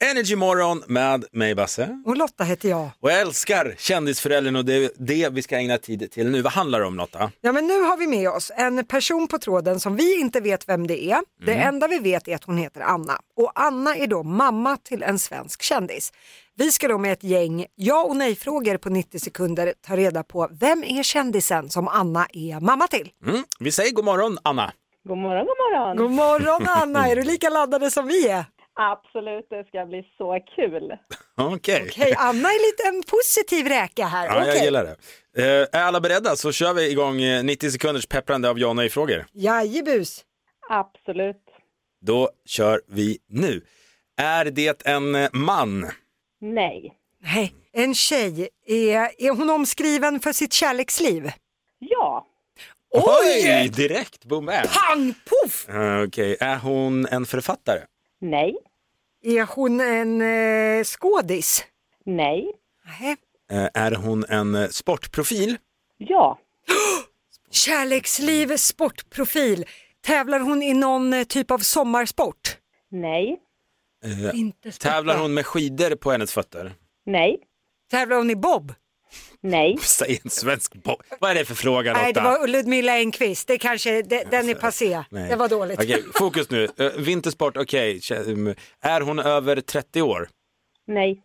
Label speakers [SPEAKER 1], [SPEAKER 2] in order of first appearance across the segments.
[SPEAKER 1] Energy morgon med mig Basse.
[SPEAKER 2] Och Lotta heter jag.
[SPEAKER 1] Och jag älskar kändisföräldern och det är det vi ska ägna tid till nu. Vad handlar det om Lotta?
[SPEAKER 2] Ja men nu har vi med oss en person på tråden som vi inte vet vem det är. Det
[SPEAKER 1] Mm.
[SPEAKER 2] enda vi vet är att hon heter Anna. Och Anna är då mamma till en svensk kändis. Vi ska då med ett gäng ja och nej-frågor på 90 sekunder ta reda på vem är kändisen som Anna är mamma till.
[SPEAKER 1] Mm. Vi säger god morgon Anna.
[SPEAKER 3] God morgon, god morgon.
[SPEAKER 2] God morgon Anna, är du lika laddade som vi är?
[SPEAKER 3] Absolut, det ska bli så kul.
[SPEAKER 1] Okej.
[SPEAKER 2] Okej, Anna är lite en positiv räka här.
[SPEAKER 1] Ja, jag
[SPEAKER 2] Okej.
[SPEAKER 1] gillar det. Eh, är alla beredda så kör vi igång eh, 90 sekunders pepprande av ja och nej-frågor.
[SPEAKER 2] Jajebus.
[SPEAKER 3] Absolut.
[SPEAKER 1] Då kör vi nu. Är det en eh, man?
[SPEAKER 3] Nej.
[SPEAKER 2] Nej, en tjej, är, är hon omskriven för sitt kärleksliv?
[SPEAKER 3] Ja.
[SPEAKER 1] Oj! Direkt, boom bam.
[SPEAKER 2] Pang poff!
[SPEAKER 1] Eh, Okej, är hon en författare?
[SPEAKER 3] Nej.
[SPEAKER 2] Är hon en eh, skådis?
[SPEAKER 3] Nej.
[SPEAKER 2] Nej.
[SPEAKER 1] Eh, är hon en eh, sportprofil?
[SPEAKER 3] Ja.
[SPEAKER 2] Kärleksliv, sportprofil. Tävlar hon i någon eh, typ av sommarsport?
[SPEAKER 3] Nej.
[SPEAKER 1] Eh,
[SPEAKER 2] Inte sportbar.
[SPEAKER 1] tävlar hon med skidor på hennes fötter?
[SPEAKER 3] Nej.
[SPEAKER 2] Tävlar hon i bob?
[SPEAKER 3] Nej.
[SPEAKER 1] Säg en svensk bo- Vad är det för fråga
[SPEAKER 2] Nej, det
[SPEAKER 1] Lotta?
[SPEAKER 2] var Ludmilla Engqvist. Det kanske, det, den är passé.
[SPEAKER 1] alltså, Nej.
[SPEAKER 2] Det var dåligt.
[SPEAKER 1] Okej, fokus nu. Eh, vintersport, okej. Kä- mm, Är hon över 30 år?
[SPEAKER 3] Nej.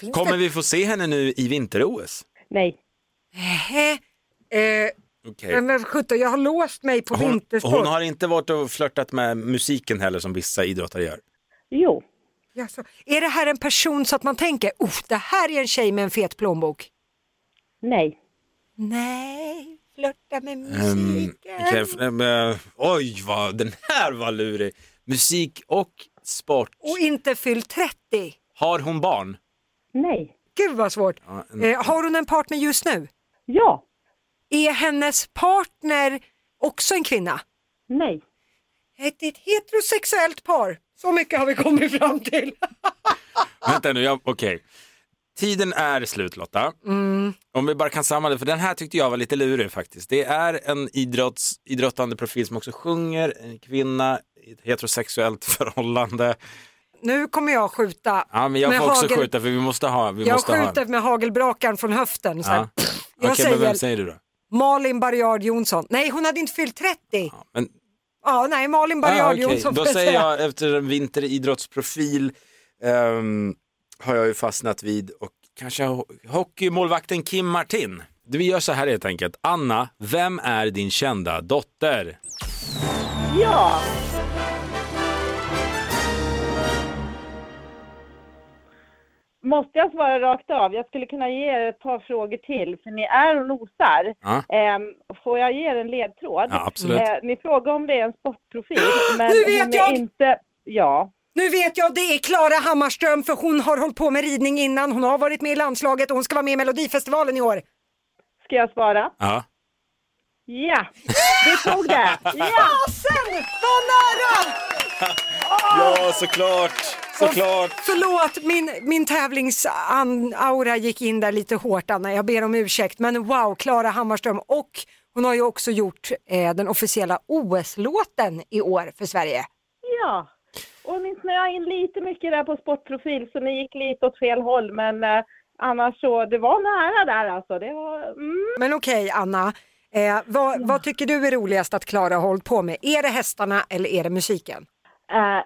[SPEAKER 2] Finns
[SPEAKER 1] Kommer vi få se henne nu i vinter-OS?
[SPEAKER 3] Nej.
[SPEAKER 2] Nähä. Eh,
[SPEAKER 1] Okej.
[SPEAKER 2] men vad sjutton, jag har låst mig på
[SPEAKER 1] Hon,
[SPEAKER 2] vintersport.
[SPEAKER 1] hon har inte varit och flörtat med musiken heller som vissa idrottare gör.
[SPEAKER 3] Jo.
[SPEAKER 2] Jaså. Är det här en person så att man tänker, oh, det här är en tjej med en fet plånbok?
[SPEAKER 3] Nej.
[SPEAKER 2] Nej, flörta med
[SPEAKER 1] Um,
[SPEAKER 2] musiken.
[SPEAKER 1] eh, oj, vad, den här var lurig. Musik och sport.
[SPEAKER 2] Och inte fyllt 30.
[SPEAKER 1] Har hon barn?
[SPEAKER 3] Nej.
[SPEAKER 2] Gud vad svårt.
[SPEAKER 1] Ja, en-
[SPEAKER 2] Eh, har hon en partner just nu?
[SPEAKER 3] Ja.
[SPEAKER 2] Är hennes partner också en kvinna?
[SPEAKER 3] Nej.
[SPEAKER 2] Ett, ett heterosexuellt par. Så mycket har vi kommit fram till.
[SPEAKER 1] Vänta nu, jag- okej. Tiden är slut Lotta.
[SPEAKER 2] Mm.
[SPEAKER 1] Om vi bara kan samla det, för den här tyckte jag var lite lurig faktiskt. Det är en idrotts, idrottande profil som också sjunger, en kvinna i ett heterosexuellt förhållande.
[SPEAKER 2] Nu kommer jag skjuta.
[SPEAKER 1] Ja, men jag
[SPEAKER 2] med
[SPEAKER 1] får också
[SPEAKER 2] hagel-
[SPEAKER 1] skjuta för vi måste ha. Vi
[SPEAKER 2] Jag
[SPEAKER 1] måste ha.
[SPEAKER 2] skjuter med hagelbrakan från höften. Så här.
[SPEAKER 1] Ja.
[SPEAKER 2] Jag
[SPEAKER 1] Okej, men vem
[SPEAKER 2] säger
[SPEAKER 1] säger du då?
[SPEAKER 2] Malin Barriard Jonsson. Nej, hon hade inte fyllt 30. Ja,
[SPEAKER 1] Ja, men,
[SPEAKER 2] nej, Malin
[SPEAKER 1] ah,
[SPEAKER 2] Barriard
[SPEAKER 1] okej.
[SPEAKER 2] Jonsson.
[SPEAKER 1] Då
[SPEAKER 2] får
[SPEAKER 1] säger
[SPEAKER 2] säga.
[SPEAKER 1] jag efter en vinteridrottsprofil ehm, har jag ju fastnat vid och kanske ho- hockeymålvakten Kim Martin. Vi gör så här helt enkelt. Anna, vem är din kända dotter?
[SPEAKER 3] Ja. Måste jag svara rakt av? Jag skulle kunna ge er ett par frågor till, för ni är och nosar.
[SPEAKER 1] Ja.
[SPEAKER 3] Ehm, får jag ge er en ledtråd?
[SPEAKER 1] Ja, absolut.
[SPEAKER 3] Eh, ni frågar om det är en sportprofil, men
[SPEAKER 2] Nu vet
[SPEAKER 3] hon
[SPEAKER 2] jag!
[SPEAKER 3] är inte... Ja,
[SPEAKER 2] Nu vet jag, det är Klara Hammarström för hon har hållit på med ridning innan. Hon har varit med i landslaget och hon ska vara med i Melodifestivalen i år.
[SPEAKER 3] ska jag svara?
[SPEAKER 1] Ja.
[SPEAKER 3] Ja, vi tog det! Ja!
[SPEAKER 2] Fasen, vad nära!
[SPEAKER 1] ja, såklart! Såklart!
[SPEAKER 2] Förlåt, min, min tävlingsaura gick in där lite hårt Anna, jag ber om ursäkt. Men wow, Klara Hammarström och hon har ju också gjort eh, den officiella OS-låten i år för Sverige.
[SPEAKER 3] Ja, och ni snöade in lite mycket där på sportprofil så ni gick lite åt fel håll men eh, annars så, det var nära där alltså. Det var, mm.
[SPEAKER 2] Men okej Anna, eh, vad, vad tycker du är roligast att Klara har hållit på med? Är det hästarna eller är det musiken?
[SPEAKER 3] eh,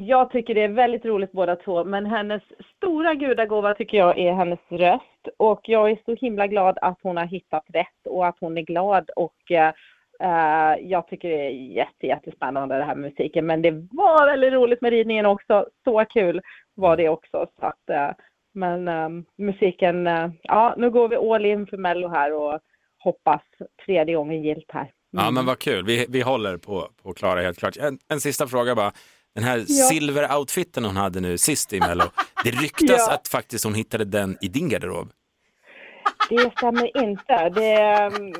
[SPEAKER 3] jag tycker det är väldigt roligt båda två men hennes stora gudagåva tycker jag är hennes röst och jag är så himla glad att hon har hittat rätt och att hon är glad och eh, eh, jag tycker det är jätte, jättespännande det här med musiken men det var väldigt roligt med ridningen också. Så kul var det också. Så att, eh, Men ehm, musiken, eh, ja nu går vi all in för Mello här och hoppas tredje gången gillt här.
[SPEAKER 1] Ja, men vad kul. Vi, vi håller på, på Klara helt klart. En, en sista fråga bara. Den här silveroutfiten hon hade nu sist i Mello. Det ryktas
[SPEAKER 3] Ja.
[SPEAKER 1] att faktiskt hon hittade den i din garderob.
[SPEAKER 3] Det stämmer inte. Det, ehm,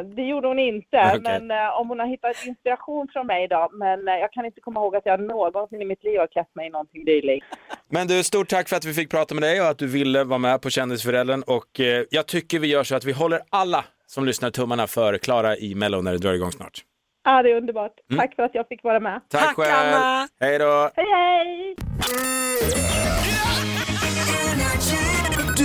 [SPEAKER 3] eh, det gjorde hon inte.
[SPEAKER 1] Okej.
[SPEAKER 3] Men eh, om hon har hittat inspiration från mig då. Men eh, jag kan inte komma ihåg att jag någonsin i mitt liv har klätt mig i någonting dylikt.
[SPEAKER 1] Men du, stort tack för att vi fick prata med dig och att du ville vara med på Kändisföräldern. Och eh, jag tycker vi gör så att vi håller alla som lyssnar tummarna för Klara i Mello när det drar igång snart.
[SPEAKER 3] Ja, det är underbart. Tack för att jag fick vara med.
[SPEAKER 1] Tack,
[SPEAKER 2] Tack,
[SPEAKER 1] själv.
[SPEAKER 2] Anna.
[SPEAKER 1] Hej då.
[SPEAKER 3] Hej, hej!